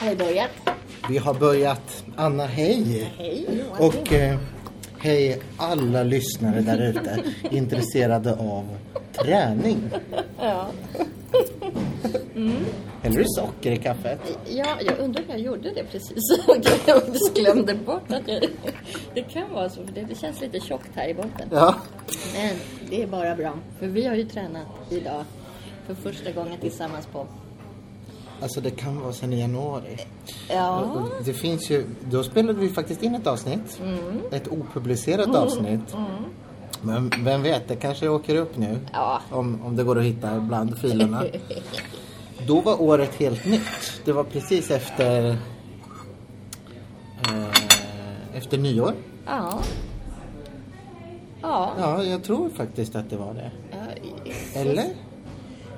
Har vi börjat? Vi har börjat. Anna, hej! Hej! Och eh, hej alla lyssnare där ute intresserade av träning. Ja. Häller du socker i kaffet? ja, jag undrar om jag gjorde det precis. jag faktiskt glömde bort att jag... Det kan vara så, för det, det känns lite tjockt här i botten. Ja. Men det är bara bra, för vi har ju tränat idag för första gången tillsammans på... Alltså det kan vara sedan i januari. Ja, Och Ah. Det finns ju, då spelade vi faktiskt in ett avsnitt. Mm. Ett opublicerat avsnitt. Men vem vet, det kanske åker upp nu. Ja. Om, om det går att hitta bland filerna. Då var året helt nytt. Det var precis efter, eh, efter nyår. ja. Ja. Ja, jag tror faktiskt att det var det. ja. Eller?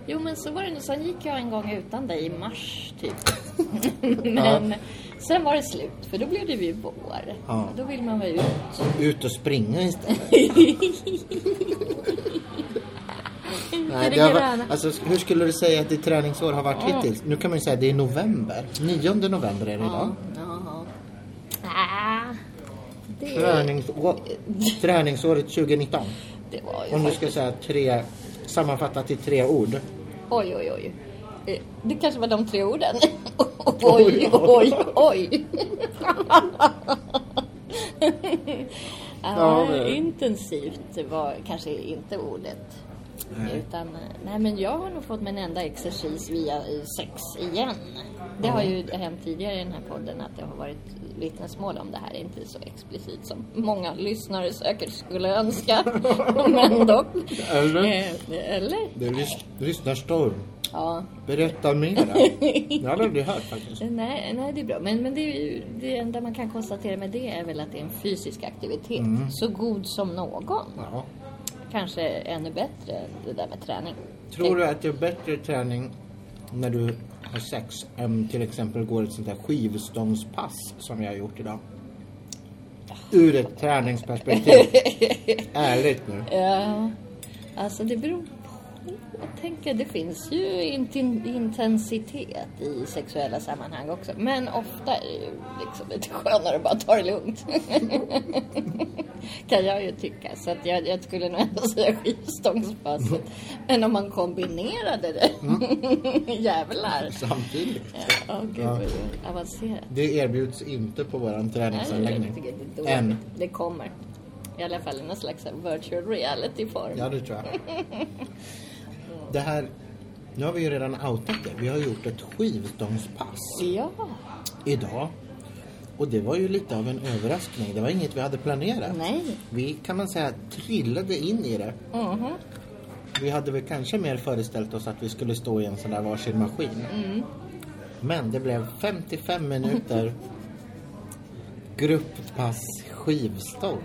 Jo, men så var det nog. Sen gick jag en gång utan dig i mars, typ. men sen var det slut, för då blev det ju vår. Ja. Då vill man vara ut. Ut och springa istället. Nej, det det har, gröna. varit- alltså, hur skulle du säga att ditt träningsår har varit hittills? Nu kan man ju säga att det är november. 9 november är det idag. Ja. ja. Ah, det, Träningsår, träningsåret 2019. det var ju... Om du ska säga tre, sammanfatta till tre ord. Oj, oj, oj. Eh, Det kanske var de tre orden. Oj, Oj, oj, oj. Ja, ja, men- intensivt var kanske inte ordet. Nej. Utan, eh, nej men jag har nog fått min enda exercis via eh, sex igen. Det har ju hänt tidigare i den här podden att det har varit vittnesmål om det här. Inte så explicit som många lyssnare säkert skulle önska. men dock. Eller? Eh, Eller? Det är lys- lyssnarstorm. Ja, Berätta mera. Jag har aldrig hört faktiskt. Nej, nej, det är bra. Men, men det, är ju, det enda man kan konstatera med det är väl att det är en fysisk aktivitet. Så god som någon. Ja. Kanske ännu bättre än det där med träning. Tror du att det är bättre träning när du har sex än till exempel går ett sånt där skivstångspass som jag har gjort idag? Ur ett träningsperspektiv. Ärligt nu. Ja, alltså det beror på. Jag tänker, det finns ju intin- intensitet i sexuella sammanhang också. Men ofta är det ju liksom lite skönare att bara ta det lugnt. kan jag ju tycka. Så att jag, jag skulle nog ändå säga skivstångspasset. Men om man kombinerade det. Jävlar. Samtidigt. Ja, Åh gud vad det är avancerat. Det erbjuds inte på våran Nej, jag träningsanläggning. tycker det är Än. dåligt. Det kommer. I alla fall i någon slags virtual reality-form. Ja, det tror jag. Det här... Nu har vi ju redan outat det. Vi har gjort ett skivstångspass ja. idag. Och det var ju lite av en överraskning. Det var inget vi hade planerat. Nej. Vi kan man säga trillade in i det. Mhm. Vi hade väl kanske mer föreställt oss att vi skulle stå i en sån där varsin maskin. Men det blev 55 minuter grupppass skivstång.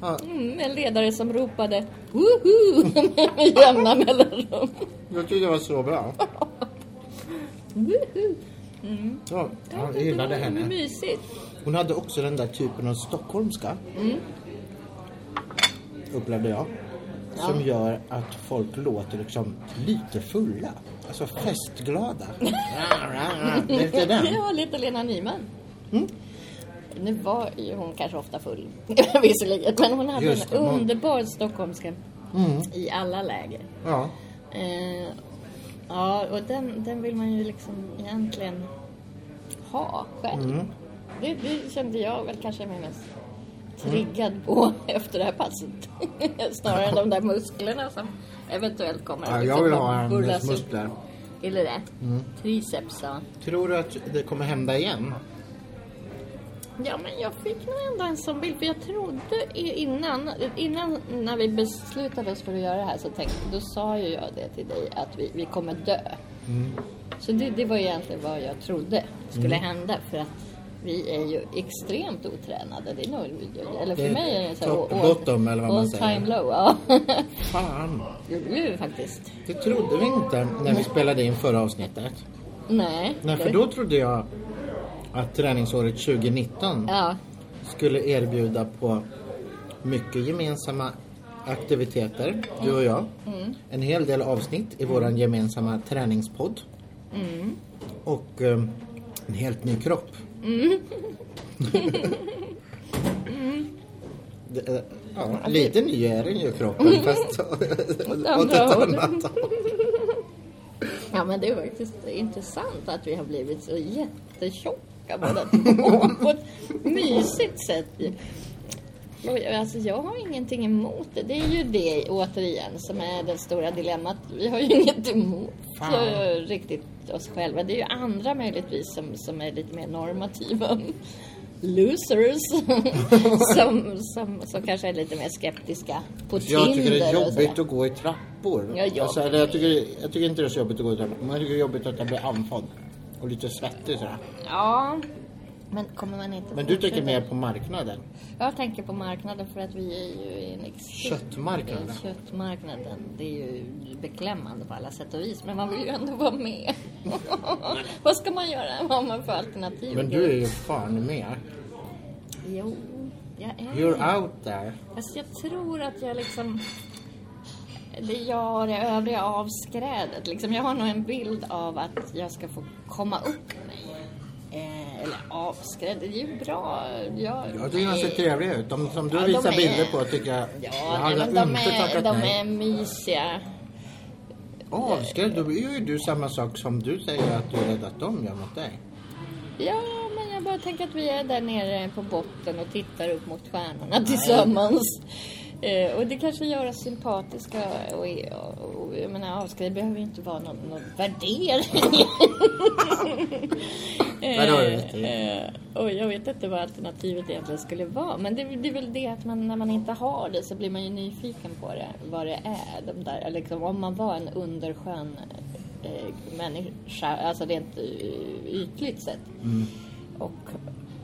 Ja, Mm, en ledare som ropade woho med jämna mellanrum. jag tyckte det var så bra. Woho! Ja, jag gillade Det var henne. Mm, mysigt. Hon hade också den där typen av stockholmska. Upplevde jag. Som gör att folk låter liksom lite fulla. Alltså festglada. Det är inte den. Mm. Ja, lite Lena Nyman. Nu var ju hon kanske ofta full, visserligen. Men hon hade Just en det, hon- underbar stockholmska Mm, i alla läger. ja. Eh, ja, och den, den vill man ju liksom egentligen ha själv. Mm. Det, det kände jag väl kanske mig mest Mm. triggad på efter det här passet. Snarare än de där musklerna som eventuellt kommer ja jag vill ha Mm. burlas hennes upp. muskler. Eller det? Triceps, ja. Tror du att det kommer hända igen? Ja, men jag fick nog ändå en sån bild. För jag trodde i- innan, innan när vi beslutade oss för att göra det här så tänkte då sa ju jag det till dig att vi, vi kommer dö. Mm. Så det, det var ju egentligen vad jag trodde skulle hända för att vi är ju extremt otränade. Det är nog, eller för Det är mig är det så top all- bottom, eller vad man all säger. time low. Ja. Fan, Jo, det är faktiskt. det trodde vi inte när vi spelade in förra avsnittet. Nej. Nej, för då trodde jag att träningsåret 2019 Ja. skulle erbjuda på mycket gemensamma aktiviteter, du och jag. En hel Mm. del avsnitt i våran gemensamma träningspodd. Och eh, En helt ny kropp. Mm. Det Mm. är- eh, Ja, lite ny är den ju kroppen fast åt andra ett håll. annat Ja men det är faktiskt intressant att vi har blivit så jättetjocka båda två. På ett mysigt sätt. Och jag- Alltså jag har ingenting emot det. Det är ju det återigen som är det stora dilemmat. Vi har ju inget emot Fan. eh, riktigt oss själva. Det är ju andra möjligtvis som, som är lite mer normativa. Losers som, som, som kanske är lite mer skeptiska på Jag tycker det är Tinder och sådär. jobbigt att gå i trappor. Ja, jag- alltså, eller jag, tycker, jag tycker inte det är så jobbigt att gå i trappor. Men jag tycker det är jobbigt att jag blir andfådd. Och lite svettig sådär. Ja, men kommer man inte Men du fortsätta? tänker mer på marknaden. Jag tänker på marknaden för att vi är ju i en extrem- Köttmarknaden. Köttmarknaden. Det är ju beklämmande på alla sätt och vis. Men man vill ju ändå vara med. Vad ska man göra? Vad har man för alternativ? Men du är ju fan med. Jo, jag är You're out there. Fast jag tror att jag liksom... Det jag har det övriga avskrädet. Liksom, jag har nog en bild av att jag ska få komma upp mig. Eh, eller avskräd, det är ju bra. Jag, Jag tycker de ser trevliga ut. De som du Ja, de visar är- bilder på tycker jag... jag Ja, nej, hade men inte de är, tackat de nej. är mysiga. Avskrädd, då gör ju du samma sak som du säger att du är rädd att de gör mot dig. Ja, men jag bara tänker att vi är där nere på botten och tittar upp mot stjärnorna tillsammans. Eh, och det kanske gör oss sympatiska och, och, och jag menar avskrädd behöver ju inte vara någon, någon värdering. Nej, det har du rätt i. Eh, och jag vet inte vad alternativet egentligen skulle vara. Men det, det är väl det att man, när man inte har det så blir man ju nyfiken på det, vad det är. De där, liksom, om man var en underskön eh, människa, alltså rent eh, ytligt sett. Mm. Och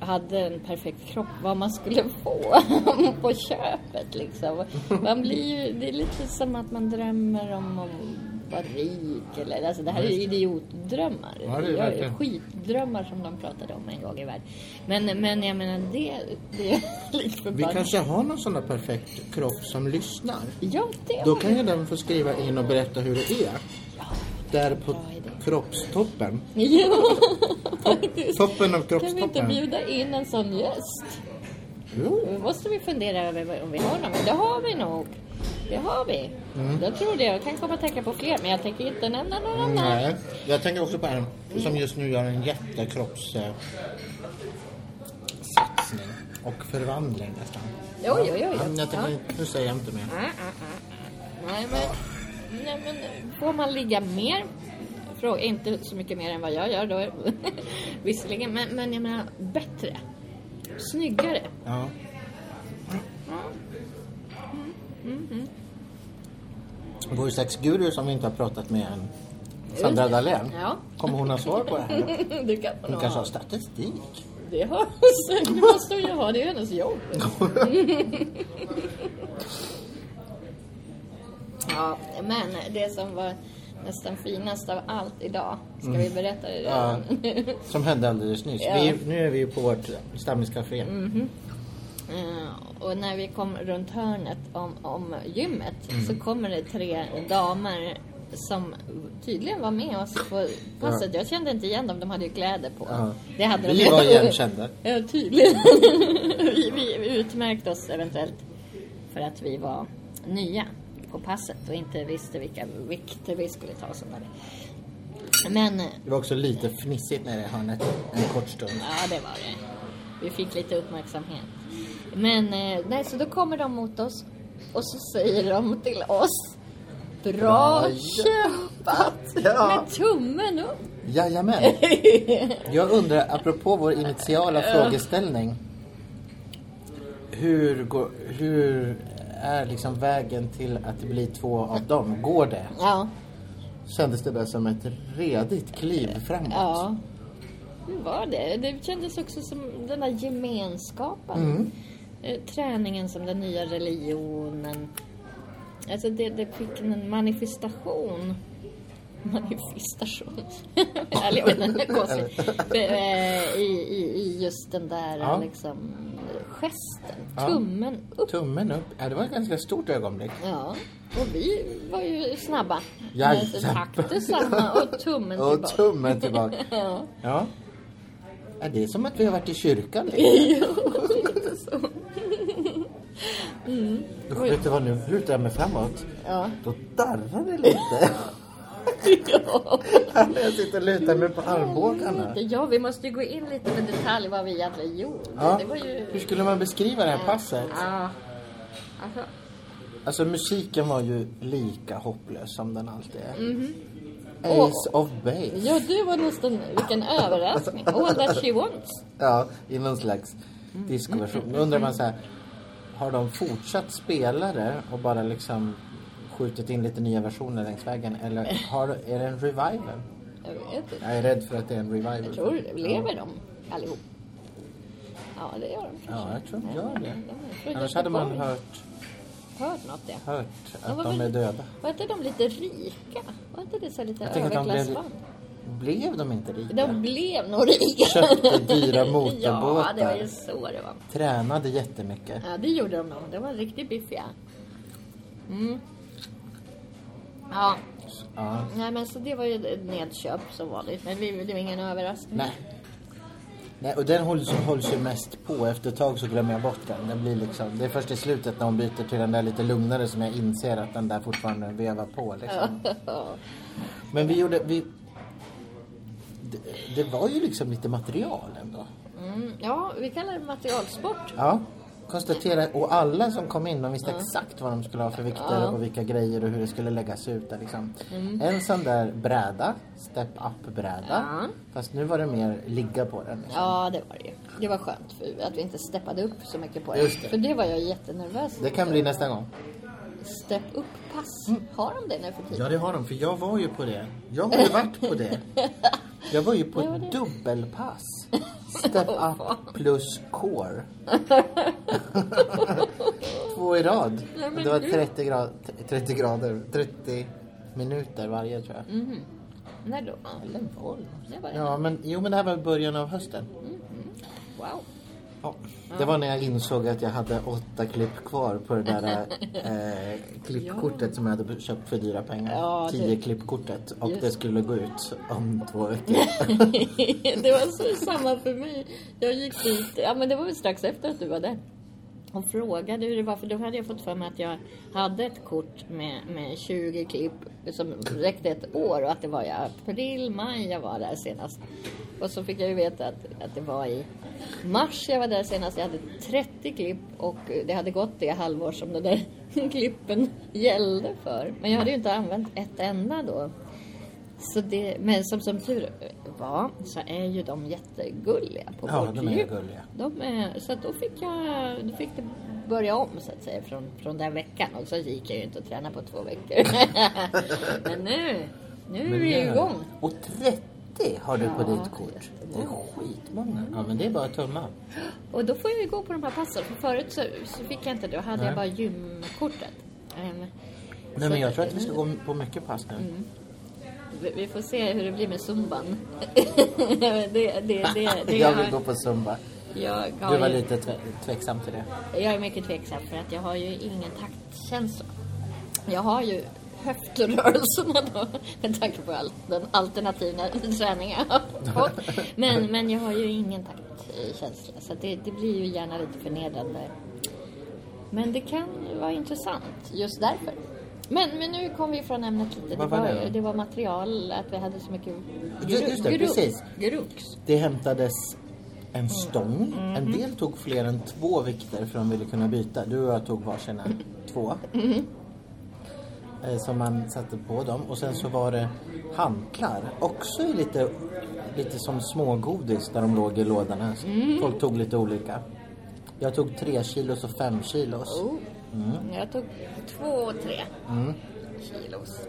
hade en perfekt kropp, vad man skulle få på köpet liksom. Man blir ju, det är lite som att man drömmer om att vara rik eller, alltså det här är ju idiotdrömmar. Ja, det är Jag- verkligen. skitdrömmar som de pratade om en gång i världen. Men, men jag menar det, det är lite Vi förbannat. kanske har någon sån där perfekt kropp som lyssnar. Ja, det Då var kan ju den få skriva in och berätta hur det är. Där på Bra idé. kroppstoppen. Ja, Toppen av kan vi inte kroppstoppen. bjuda in en sån gäst? Jo. Då måste vi fundera över vad- om vi har någon. Men Det har vi nog. Det har vi. Mm. Jag tror det. Jag kan komma att tänka på fler, men jag tänker inte nämna några namn. Nej. Jag tänker också på en som just nu gör en jättekroppssatsning. satsning och förvandling nästan. Oj, oj, oj. oj. Men jag Ja. tänker, inte- nu säger jag inte mer. Mm, mm, mm. Nej, men, nej, men får man ligga mer? Fråga, inte så mycket mer än vad jag gör då, visserligen. Men, men jag menar, bättre. Snyggare. Ja. Vår sexguru som vi inte har pratat med än, Sandra Dahlén. Ja. Kommer hon ha svar på det här? Du kan Hon nog kanske ha. har statistik? Det har så Det måste hon ju ha. Det är ju hennes jobb. ja, men det som var nästan finast av allt idag. Ska vi berätta det redan? Som hände alldeles nyss. Ja. Mm. Vi, nu är vi ju på vårt stammiscafé. Eh, och när vi kom runt hörnet om, om gymmet Mm. så kommer det tre damer som tydligen var med oss på passet. Jag kände inte igen dem, de hade ju kläder på. Ja. Det hade Vi de var igenkända. Ja, tydligen. vi, vi utmärkte oss eventuellt för att vi var nya på passet och inte visste vilka vikter vi skulle ta som var det. Men eh, Det var också lite fnissigt nere i hörnet en kort stund. Ja, det var det. Vi fick lite uppmärksamhet. Men eh, nej, så då kommer de mot oss och så säger de till oss Bra, Bra kämpat! Ja. Med tummen upp! Jajamän. Jag undrar, apropå vår initiala frågeställning. Hur, går, hur är liksom vägen till att det blir två av dem? Går det? Ja, Kändes det där som ett redigt kliv framåt? ja. Hur var det? Det kändes också som den där gemenskapen. Mm. Eh, Träningen som den nya religionen. Alltså det, det fick en manifestation. Manifestation. Eller jag vet inte, det är konstigt. Eh, I, i, I just den där Ja. liksom, gesten. Ja. Tummen upp. Tummen upp. Ja, det var ett ganska stort ögonblick. Ja. Och vi var ju snabba. Jajamän. Alltså, Tack detsamma och tummen Och tillbaka. tummen tillbaka. Ja. Ja. Ja, det är som att vi har varit i kyrkan. Jo, lite så. Mm. Usch, vet du vad, nu lutar jag mig framåt. Ja. Då darrar det lite. ja. jag sitter och lutar mig på armbågarna. Ja, vi måste ju gå in lite med detalj vad vi egentligen gjorde. Ja. Det var ju... Hur skulle man beskriva det här passet? Ja. Alltså, Alltså musiken var ju lika hopplös som den alltid är. Mhm. Ace of Base. ja, du var nästan... Vilken överraskning. Alltså- All that she wants. Ja, i någon slags discoversion. Då undrar man så här, har de fortsatt spela det och bara liksom skjutit in lite nya versioner längs vägen eller har, är det en revival? Jag vet inte. Jag är rädd för att det är en revival. Jag tror det. Lever de allihop? Ja, det gör de kanske. Ja, jag tror de gör det. De har Annars hade man flyttat hört, bort. hört något, ja. hört De att var de är väl- döda. Var inte de lite rika? Var inte det så här lite Jag tänker att de blev, överklassband? blev de inte rika? De blev nog rika. Köpte Ja, det var dyra ju motorbåtar, så det var. tränade jättemycket. Ja, det gjorde de nog. De var riktigt biffiga. Mm. Ja, Ja. nej men så det var ju ett nedköp som vanligt. Men vi, det var ingen överraskning. Nej. Nej, och den hålls, hålls ju mest på. Efter ett tag så glömmer jag bort den. den blir liksom, det är först i slutet när hon byter till den där lite lugnare som jag inser att den där fortfarande vevar på. Liksom. Men vi gjorde... Vi, det, det var ju liksom lite material ändå. Mm, ja, vi kallar det materialsport. Ja. Konstatera, och alla som kom in de visste exakt vad de skulle ha för vikter och vilka grejer och hur det skulle läggas ut. Där, liksom. En sån där bräda, step-up-bräda. Ja. Fast nu var det mer ligga på den. Liksom. Ja, det var det ju. Det var skönt för att vi inte steppade upp så mycket på det. Just det. För det var jag jättenervös Det Mm. kan bli nästa gång. Step upp-pass. Har de det nu för tiden? Ja, det har de. För jag var ju på det. Jag har ju varit på det. Jag var ju på ett dubbelpass. Step up plus core. Två i rad. Nej, men Det var du- 30, grad, 30 grader. 30 minuter varje, tror jag. När då? Eller Mm. var Det var det. Ja, men jo, men det här var i början av hösten. Wow. Ja. Det var när jag insåg att jag hade åtta klipp kvar på det där eh, klippkortet som jag hade köpt för dyra pengar. Ja, typ. det- Tio klippkortet. Och det skulle gå ut om två veckor. det var så samma för mig. Jag gick dit, ja men det var väl strax efter att du var där. Och frågade hur det var, för då hade jag fått för mig att jag hade ett kort med, med 20 klipp som räckte ett år och att det var i april, maj jag var där senast. Och så fick jag ju veta att, att det var i mars jag var där senast. Jag hade 30 klipp och det hade gått det halvår som de där klippen gällde för. Men jag hade ju inte använt ett enda då. Så det, men som, som tur var så är ju de jättegulliga på Ja, vårt de är djur. gulliga. De är, så att då fick jag då fick det börja om så att säga från, från den veckan och så gick jag ju inte och tränade på två veckor. men nu, nu är vi igång. Och 30 har du på Ja, ditt kort. Det är skitmånga. Ja, men det är bara att tumma. Och då får jag ju gå på de här passen. För förut så, så fick jag inte det. Då hade jag bara gymkortet. Ehm, Nej, men jag tror att vi ska gå på mycket pass nu. Mm. vi, vi får se hur det blir med zumban. det, det, det, det, jag vill gå på zumba. jag har Du var ju- lite tve tveksam till det. Jag är mycket tveksam för att jag har ju ingen taktkänsla. Jag har ju höftrörelserna då, med tanke på all den alternativa träning jag har fått. Men, men jag har ju ingen taktkänsla, så att det, det blir ju gärna lite förnedrande. Men det kan vara intressant just därför. Men, men nu kom vi från ämnet lite. Vad var det ju- då? det var material, att vi hade så mycket gru- Ju- just det, gru- precis. grux. Det hämtades en stång. En del tog fler än två vikter för de ville kunna byta. Du och jag tog varsina två. Eh, Som man satte på dem. Och sen så var det hantlar. Också i lite, lite som smågodis där de låg i lådorna. Folk tog lite olika. Jag tog tre kilos och fem kilos. Oh. Mm. Jag tog två och tre kilos.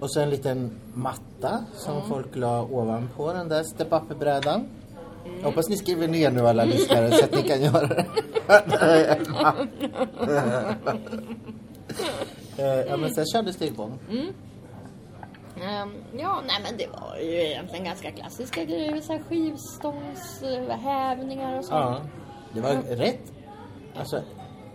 Och sen en liten matta som Mm. folk la ovanpå den där step up-brädan. Mm. Jag hoppas ni skriver ner nu alla lyssnare så att ni kan göra det. Eh, ja, men sen kördes det igång. Mm. Ehm, ja, nej men det var ju egentligen ganska klassiska grejer. Så här skivstångshävningar och sånt. Ja. Det var rätt. Alltså,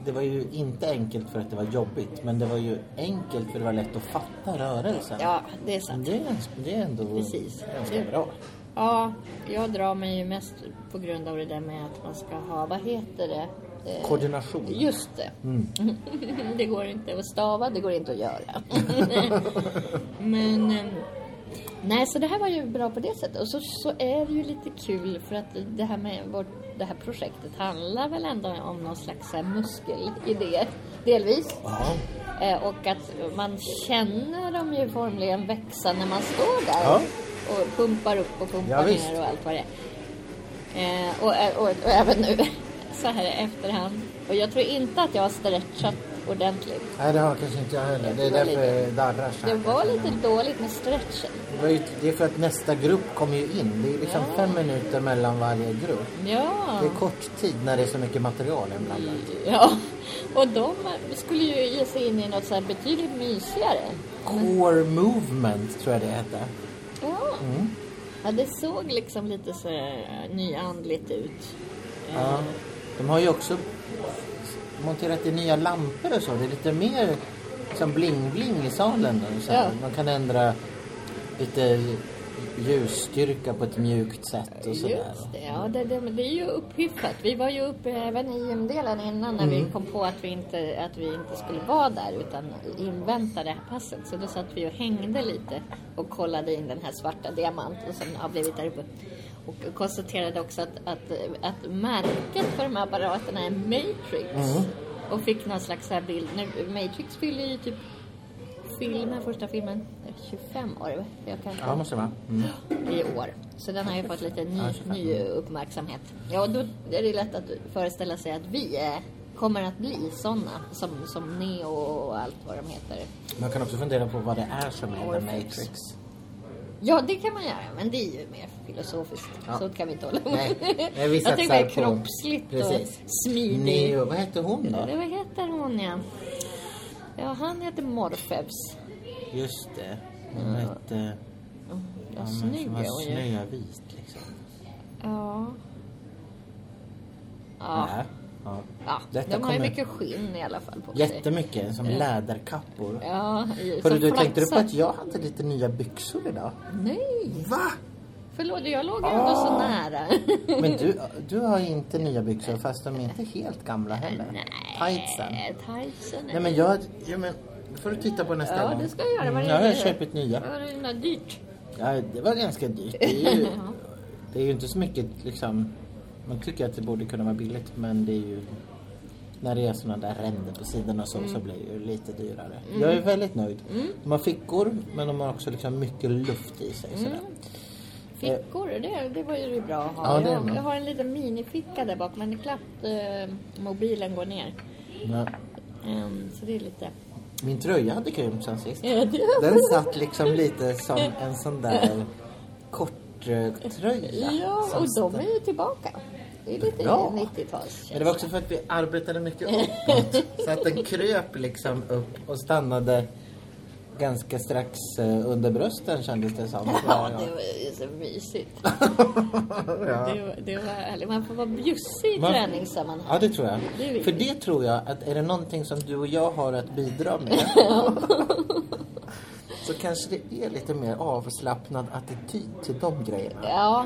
det var ju inte enkelt för att det var jobbigt, men det var ju enkelt för det var lätt att fatta rörelsen. Ja, det är sant. Det är, det är ändå Precis. ganska bra. Ja, jag drar mig ju mest på grund av det där med att man ska ha, vad heter det? Eh, Koordination. Just det. det går inte att stava, det går inte att göra. Men eh, nej, så det här var ju bra på det sättet. Och så, så är det ju lite kul för att det här med vårt, det här projektet handlar väl ändå om någon slags så här muskelidé, delvis. Ja. Eh, Och att man känner dem ju formligen växa när man står där Ja. och pumpar upp och pumpar Ja, visst. ner och allt vad det är. Eh, Och, ä- och, och även nu så här i efterhand. Och jag tror inte att jag har stretchat ordentligt. Nej, det har kanske inte jag heller. Det Det är var därför lite- det darrar så här. Det var lite dåligt med stretchen. Det var ju- Det är för att nästa grupp kommer ju in. Det är liksom Ja. fem minuter mellan varje grupp. Ja. Det är kort tid när det är så mycket material inblandat. ja. Och de skulle ju ge sig in i något så här betydligt mysigare. Core movement tror jag det hette. Ja. Mm. ja, det såg liksom lite så här nyandligt ut. Eh, Ja. De har ju också monterat i nya lampor och så. Det är lite mer som bling-bling i salen. nu, Så här. Ja. Man kan ändra lite ljusstyrka på ett mjukt sätt och sådär. Just det, ja, det, det, men det är ju upphyfsat. Vi var ju uppe även i IM-delen innan när vi kom på att vi, inte, att vi inte skulle vara där utan invänta det här passet. Så då satt vi och hängde lite och kollade in den här svarta diamanten som har blivit där uppe. Och konstaterade också att, att, att märket för de här apparaterna är Matrix. Och fick någon slags så här bild. Nu, Matrix fyller ju typ filmen, första filmen, 25 år. va? Jag kan Ja, måste det vara. Mm. i år. Så den har ju fått lite ny, Ja, 25. ny uppmärksamhet. Ja, och då är det lätt att föreställa sig att vi eh, kommer att bli sådana som, som Neo och allt vad de heter. Man kan också fundera på vad det är som är The Orpheus. Matrix. Ja, det kan man göra, men det är ju mer filosofiskt. Ja. Sånt kan vi inte hålla på Nej, nej, vi Jag tänkte satsar på- kroppsligt Precis. och smidigt. Neo, vad hette hon då? Vad heter hon, ja? Ja, han heter Morpheus. Just det. Hon hette... Ja, men snygg som är var hon ju. snövit liksom. Ja. Ja. Nej. Ja. ja. Detta De har ju kommer- mycket skinn i alla fall på sig. Jättemycket, som läderkappor. Ja, i- Hörru som du, tänkte du på flaxar. att jag hade lite nya byxor idag? Nej, Va? förlåt, jag låg ju ändå Ah. så nära. Men du, du har inte nya byxor fast de är inte helt gamla heller. Tightsen. Nej, tightsen. Nej men jag, ja men, då får du titta på nästa Ja, gång. det ska jag göra. Mm, Vad är Nu har jag det? köpt nya. Var det himla dyrt? Ja, det var ganska dyrt. Det är ju, det är ju inte så mycket liksom, man tycker att det borde kunna vara billigt men det är ju när det är sådana där ränder på sidorna så, Mm. så blir det ju lite dyrare. Jag är väldigt nöjd. De har fickor men de har också liksom mycket luft i sig. Sådär. Fickor, det, det var ju bra att Ja, ha. det är jag, bra. jag har en liten minificka där bak, men det är klappt eh, mobilen går ner. Mm. Ja. Ehm, så det är lite... Min tröja hade krympt sen sist. Ja, det Den satt liksom lite som en sån där eh, korttröja. ja, som och de stämmer. är ju tillbaka. Det är lite Bra. 90-tals. Men det var också för att vi arbetade mycket uppåt. så att den kröp liksom upp och stannade ganska strax eh, under brösten kändes det som. Ja, det var ju så mysigt. Det, var- det var härligt. Man får vara bjussig i Man- träningssammanhang. Ja, det tror jag. Det är viktigt. För det tror jag att är det någonting som du och jag har att bidra med så kanske det är lite mer avslappnad attityd till de grejerna. Ja,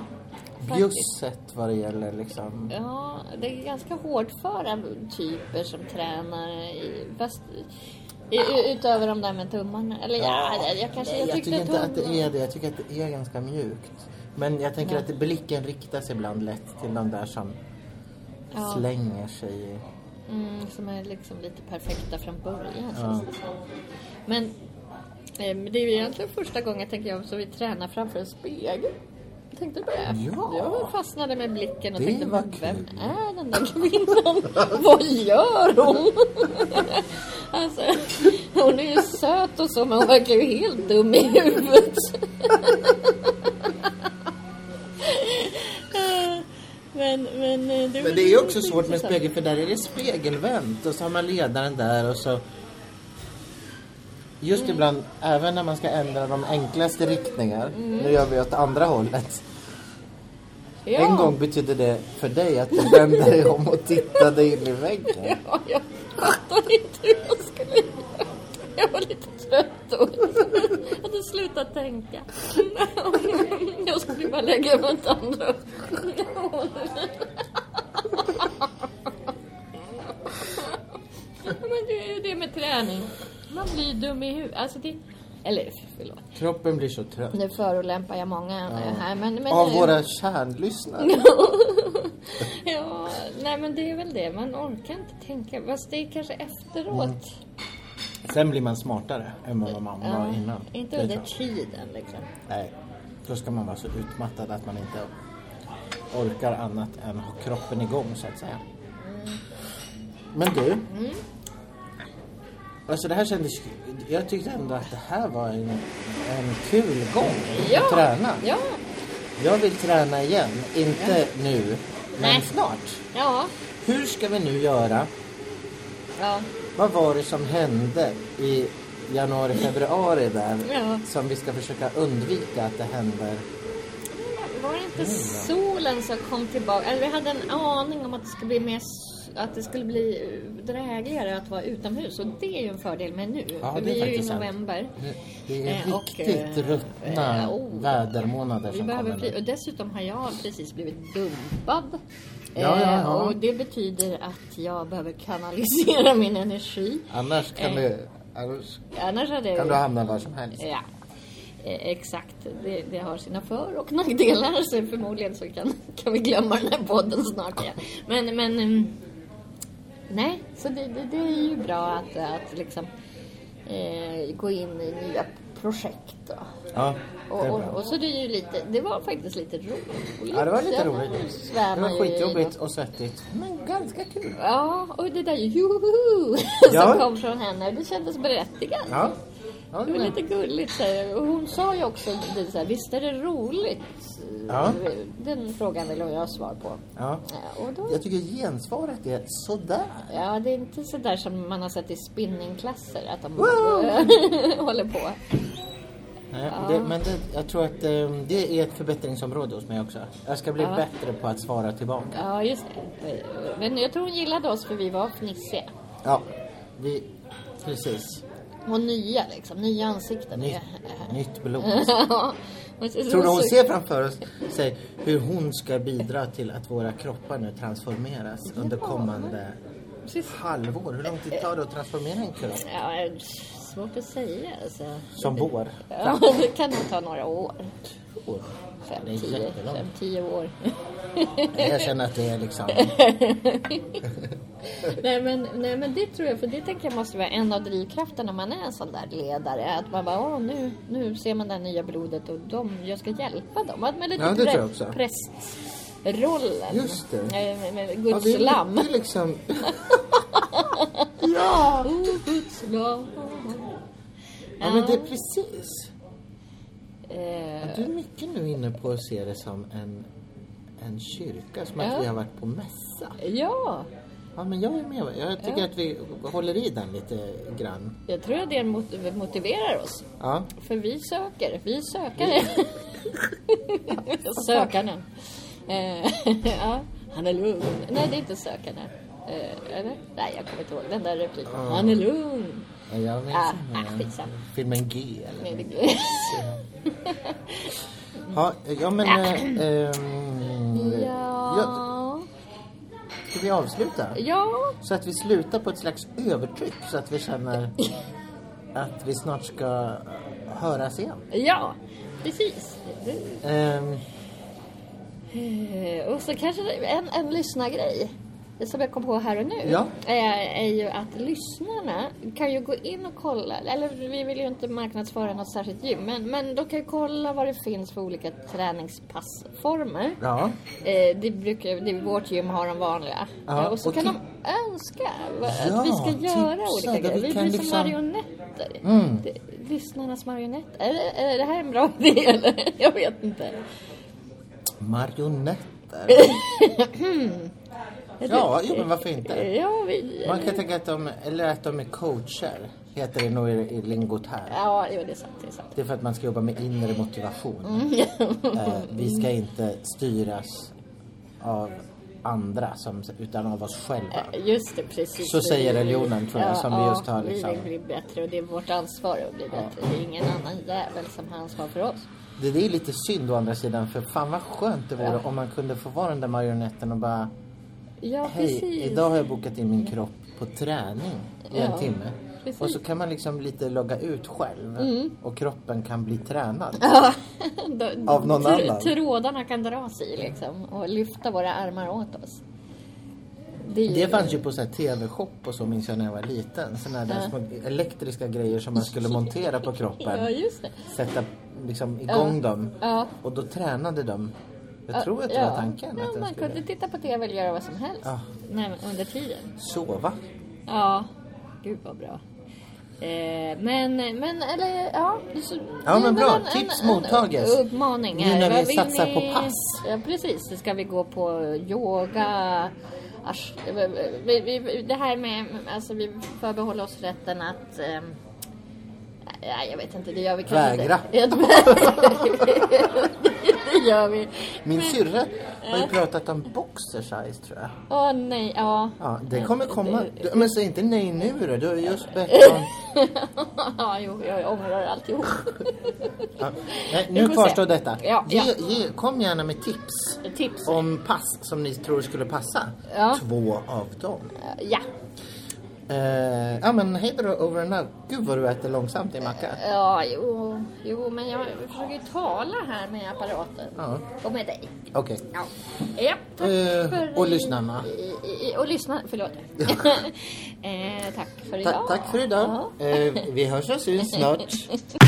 Bjusset vad det gäller liksom. ja, det är ganska hårdföra typer som tränar i, fast, i, u- utöver de där med tummarna. Eller ja, det- jag kanske jag jag tyckte tycker inte att tummarna... det är det. Jag tycker att det är ganska mjukt. Men jag tänker att blicken riktas ibland lätt till de där som Ja. slänger sig i... Mm, som är liksom lite perfekta från början. känns det som. Men eh, men det är ju egentligen första gången, tänker jag, som vi tränar framför en spegel. Tänkte du på det? Ja. Jag fastnade med blicken och Det tänkte, var vem kul." är den där kvinnan? Vad gör hon? alltså, hon är ju söt och så, men hon verkar ju helt dum i huvudet. Eh, men, men, eh, det, var Men det är också lite svårt med intressant. spegel för där är det spegelvänt och så har man ledaren där och så... Mm. Just ibland, även när man ska ändra de enklaste riktningar, Mm. nu gör vi åt andra hållet. Ja. En gång betydde det för dig att du vände dig om och tittade in i väggen. Ja, jag fattade inte hur jag skulle göra. Jag var lite trött och jag hade slutat tänka. Jag skulle bara lägga mig åt andra hållet. Men det är ju det med träning. Man blir dum i huvudet. Alltså det... Eller förlåt. Kroppen blir så trött. Nu förolämpar jag många Ja. här. Men, men Av nu- våra kärnlyssnare. Ja, nej men det är väl det. Man orkar inte tänka. Fast det är kanske efteråt. Sen blir man smartare än vad man var Ja, innan. Inte Det under tror jag. tiden liksom. Nej, då ska man vara så utmattad att man inte orkar annat än ha kroppen igång så att säga. Mm. Men du. Alltså det här kändes... Jag tyckte ändå att det här var en, en kul gång att träna. Ja, Jag vill träna igen. Inte nu, men Nej. snart. ja, Hur ska vi nu göra? ja. Vad var det som hände i januari, februari där Ja. som vi ska försöka undvika att det händer? Var det inte Mm, solen som kom tillbaka? Eller vi hade en aning om att det skulle bli mer s- att det skulle bli eh, drägligare att vara utomhus och det är ju en fördel med nu. Ja, För det är vi är ju i faktiskt sant. november. Det- Det är Eh, och, riktigt eh, ruttna eh, oh. vädermånader Vi som behöver kommer bli, och nu. dessutom har jag precis blivit dumpad. Ja, ja, Eh, ja. Och det betyder att jag behöver kanalisera min energi. Annars kan, Eh. du, annars Annars hade jag kan ju- du hamna var som helst. Ja, eh, exakt. Det, det har sina för och nackdelar. Så förmodligen så kan, kan vi glömma den här podden snart. Ja. Men, men... mm, Nej, så det, det, det är ju bra att, att liksom eh, gå in i nya projekt. Då. Ja, det Och, är och, bra. och så det är ju lite, det var faktiskt lite roligt. Ja, det var lite Sen roligt. svävar Det var ju i något. skitjobbigt och svettigt. Men ganska kul. Ja, och det där juhu Ja. som kom från henne, det kändes berättigat. Ja. Ja, Det det var var- lite gulligt. Så här. Och hon sa ju också det, så här, visst är det roligt? Ja. Den frågan vill jag ha svar på. ja. Ja, Och då, Jag tycker gensvaret är sådär. ja, det är inte så där som man har sett i spinningklasser, att de Wow! håller på. Nej, det, men det, jag tror att eh, det är ett förbättringsområde hos mig också. Jag ska bli Ja. bättre på att svara tillbaka. Ja, just det. Men jag tror hon gillade oss för vi var fnissiga. Ja, vi, precis. Och nya liksom, nya ansikten. Nytt, nytt blod. Ja. Och så- Tror du hon så- ser framför oss, sig hur hon ska bidra till att våra kroppar nu transformeras under kommande Precis. halvår? Hur lång tid tar det att transformera en kropp? Ja, det är svårt att säga. Alltså. Som vår? Ja, det kan nog ta några år. År. Fem, Det är tio, jättelångt. fem, tio år. Jag känner att det är liksom... nej, men, nej men det tror jag, för det tänker jag måste vara en av drivkrafterna när man är en sån där ledare. Att man bara, åh nu, nu ser man det här nya blodet och de, jag ska hjälpa dem. Att man lite Ja, det tror jag prä- också. prästrollen. Just det. Eh, Med, med Ja, Guds vi- lamm. vi liksom... ja! Oh, Guds lamm. Ja, men det är precis. Eh, Du är mycket nu inne på att se det som en, en kyrka, som att Ja. vi har varit på mässa. ja, Ja, men jag är med. Jag tycker att vi håller i den lite grann. jag tror att det mot- motiverar oss. Ja. För vi söker, vi sökare. Sökaren. Eh, ja, han är lugn. Nej, det är inte sökande. Eh, eller? Nej, jag kommer inte ihåg den där repliken. Han är lugn. Ja, Jag minns Ah, inte. ah, skitsamma. Filmen G eller Nej, något. det- ja, Mm. ja, men... eh, ehm, ja, Ja. ska vi avsluta? Ja. Så att vi slutar på ett slags övertryck så att vi känner att vi snart ska höras igen. Ja. Precis. Ehm, Eh, Och så kanske det- en, en lyssnargrej som jag kom på här och nu Ja. eh, är ju att lyssnarna kan ju gå in och kolla, eller vi vill ju inte marknadsföra något särskilt gym, men, men de kan ju kolla vad det finns för olika träningspassformer. ja. Eh, det brukar, det, vårt gym har de vanliga. Ja, Eh, och så och kan ti- de önska va- Ja, att vi ska göra tipsa, olika där grejer. vi Vi, kan blir som liksom- marionetter. Mm. Det, lyssnarnas marionetter. Är det, är det här en bra idé eller? Jag vet inte. Marionetter. Mm. Är Ja, det- jo, men varför inte? Ja, vi... Man kan tänka att de, eller att de är coacher, heter det nog i, i lingot här. Ja, jo, det är sant. Det är sant. Det är för att man ska jobba med inre Mm. motivation. Eh, vi ska inte styras av andra som, utan av oss själva. Eh, Just det, precis. Så Vi säger vill- religionen, tror jag, som vi just har, vi liksom. vill bli bättre och det är vårt ansvar att bli bättre. Det är ingen annan jävel som har ansvar för oss. Det där är lite synd å andra sidan för fan vad skönt det vore om man kunde få vara den där marionetten och bara Ja, Hej, precis. idag har jag bokat in min kropp på träning i Ja, en timme. precis. Mm. Och så kan man liksom lite logga ut själv och kroppen kan bli tränad. Då- Av någon tr- annan. Trådarna kan dras i liksom och lyfta våra armar åt oss. Det, är ju- Det fanns ju på så här TV-shop och så minns jag när jag var liten. Såna där små elektriska grejer som man skulle montera på Ja, kroppen. just det. Sätta liksom igång dem. Ja. Och då tränade de. Jag tror att det ja. var tanken. Ja, Att de man kunde skulle titta på TV eller göra vad som helst Ja. Nej, men under tiden. sova. Ja, gud vad bra. Eh, men, men eller ja. så- Ja, men det är bra. väl Tips mottages. Uppmaning Nu här. när vi Vad vill satsar på pass. Ja, precis. Ska vi gå på yoga? Asch, vi, vi, det här med, alltså vi förbehåller oss rätten att ehm, Nej, jag vet inte, det gör vi kanske Vägra. inte. det gör vi. Min syrra har ju pratat om boxer size tror jag. Åh nej, ja. Ja, det kommer komma. Du- Men säg inte nej nu då. Du har ju just bett om... ja, jo, jag ångrar alltihop. Ja. Nej, Vi nu får kvarstår se. detta. Ja, Ge, ja. ge, kom gärna med tips Tips. om pass som ni tror skulle passa. Ja. Två av dem. Ja, Eh, ja men hej då, over and out. Gud vad du äter långsamt i macka. ja jo, jo, men jag försöker ju tala här med apparaten. Ja. Och med dig. Okej. Ja, ja tack Eh, för... och lyssnarna. I, i, och lyssna, förlåt. eh, tack för Ta- idag. tack för idag. Ja. Eh, vi hörs och syns snart.